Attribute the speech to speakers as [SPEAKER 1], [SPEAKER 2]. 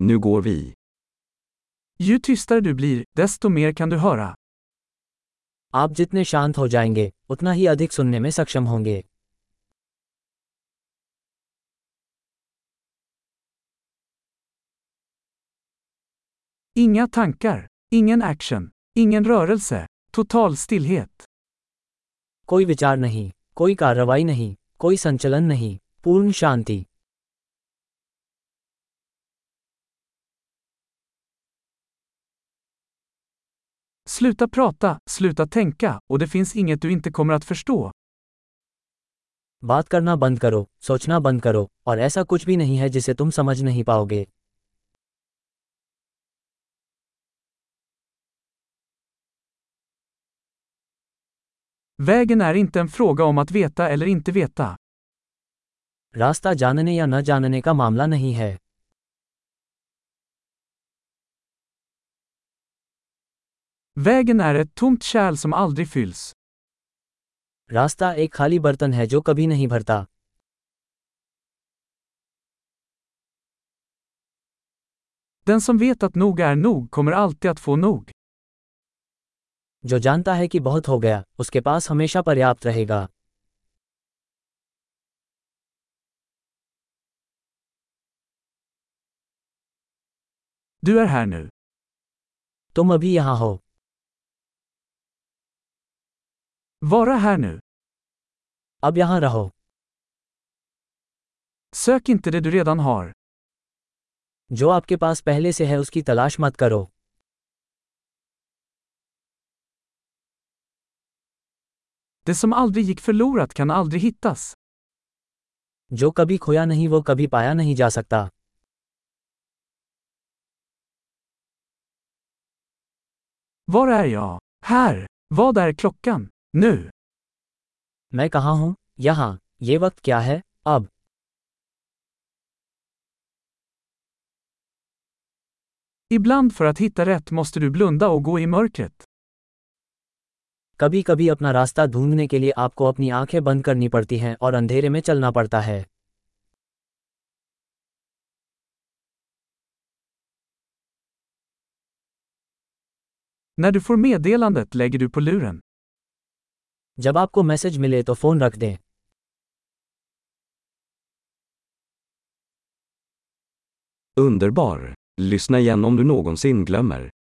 [SPEAKER 1] Nu går vi.
[SPEAKER 2] Ju tystare du blir, desto mer kan du höra.
[SPEAKER 3] आप जितने शांत हो जाएंगे उतना ही अधिक सुनने में सक्षम होंगे
[SPEAKER 2] Inga tankar, ingen action, ingen rörelse, total stillhet.
[SPEAKER 3] कोई विचार नहीं कोई कार्रवाई नहीं कोई संचलन नहीं पूर्ण शांति
[SPEAKER 2] Sluta prata, sluta tänka och det finns inget du inte kommer att förstå.
[SPEAKER 3] बात करना बंद करो सोचना बंद करो और ऐसा कुछ भी नहीं है जिसे तुम समझ नहीं पाओगे
[SPEAKER 2] Vägen är inte en fråga om att veta eller inte veta.
[SPEAKER 3] रास्ता जानने या न जानने का मामला नहीं है
[SPEAKER 2] Vägen är ett tomt kärl som aldrig fylls.
[SPEAKER 3] रास्ता एक खाली बर्तन है जो कभी नहीं भरता
[SPEAKER 2] Den som vet att nog är nog kommer alltid att få nog.
[SPEAKER 3] जो जानता है कि बहुत हो गया उसके पास हमेशा पर्याप्त रहेगा
[SPEAKER 2] Du är här nu.
[SPEAKER 3] तुम अभी यहाँ हो
[SPEAKER 2] Vara här nu.
[SPEAKER 3] अब यहाँ रहो
[SPEAKER 2] Sök inte det du redan har.
[SPEAKER 3] जो आपके पास पहले से है उसकी तलाश मत करो
[SPEAKER 2] Det som aldrig gick förlorat kan aldrig hittas.
[SPEAKER 3] जो कभी खोया नहीं वो कभी पाया नहीं जा सकता
[SPEAKER 2] Var är jag? Här. Vad är klockan? Nu.
[SPEAKER 3] मैं कहाँ हूँ यहाँ ये वक्त क्या है अब
[SPEAKER 2] Ibland för att hitta rätt måste du blunda och gå i mörkret.
[SPEAKER 3] कभी कभी अपना रास्ता ढूंढने के लिए आपको अपनी आंखें बंद करनी पड़ती हैं और अंधेरे में चलना पड़ता है
[SPEAKER 2] När du får meddelandet lägger du på luren.
[SPEAKER 3] जब आपको मैसेज मिले तो फ़ोन रख दें
[SPEAKER 1] Underbar! Lyssna igen om du någonsin glömmer.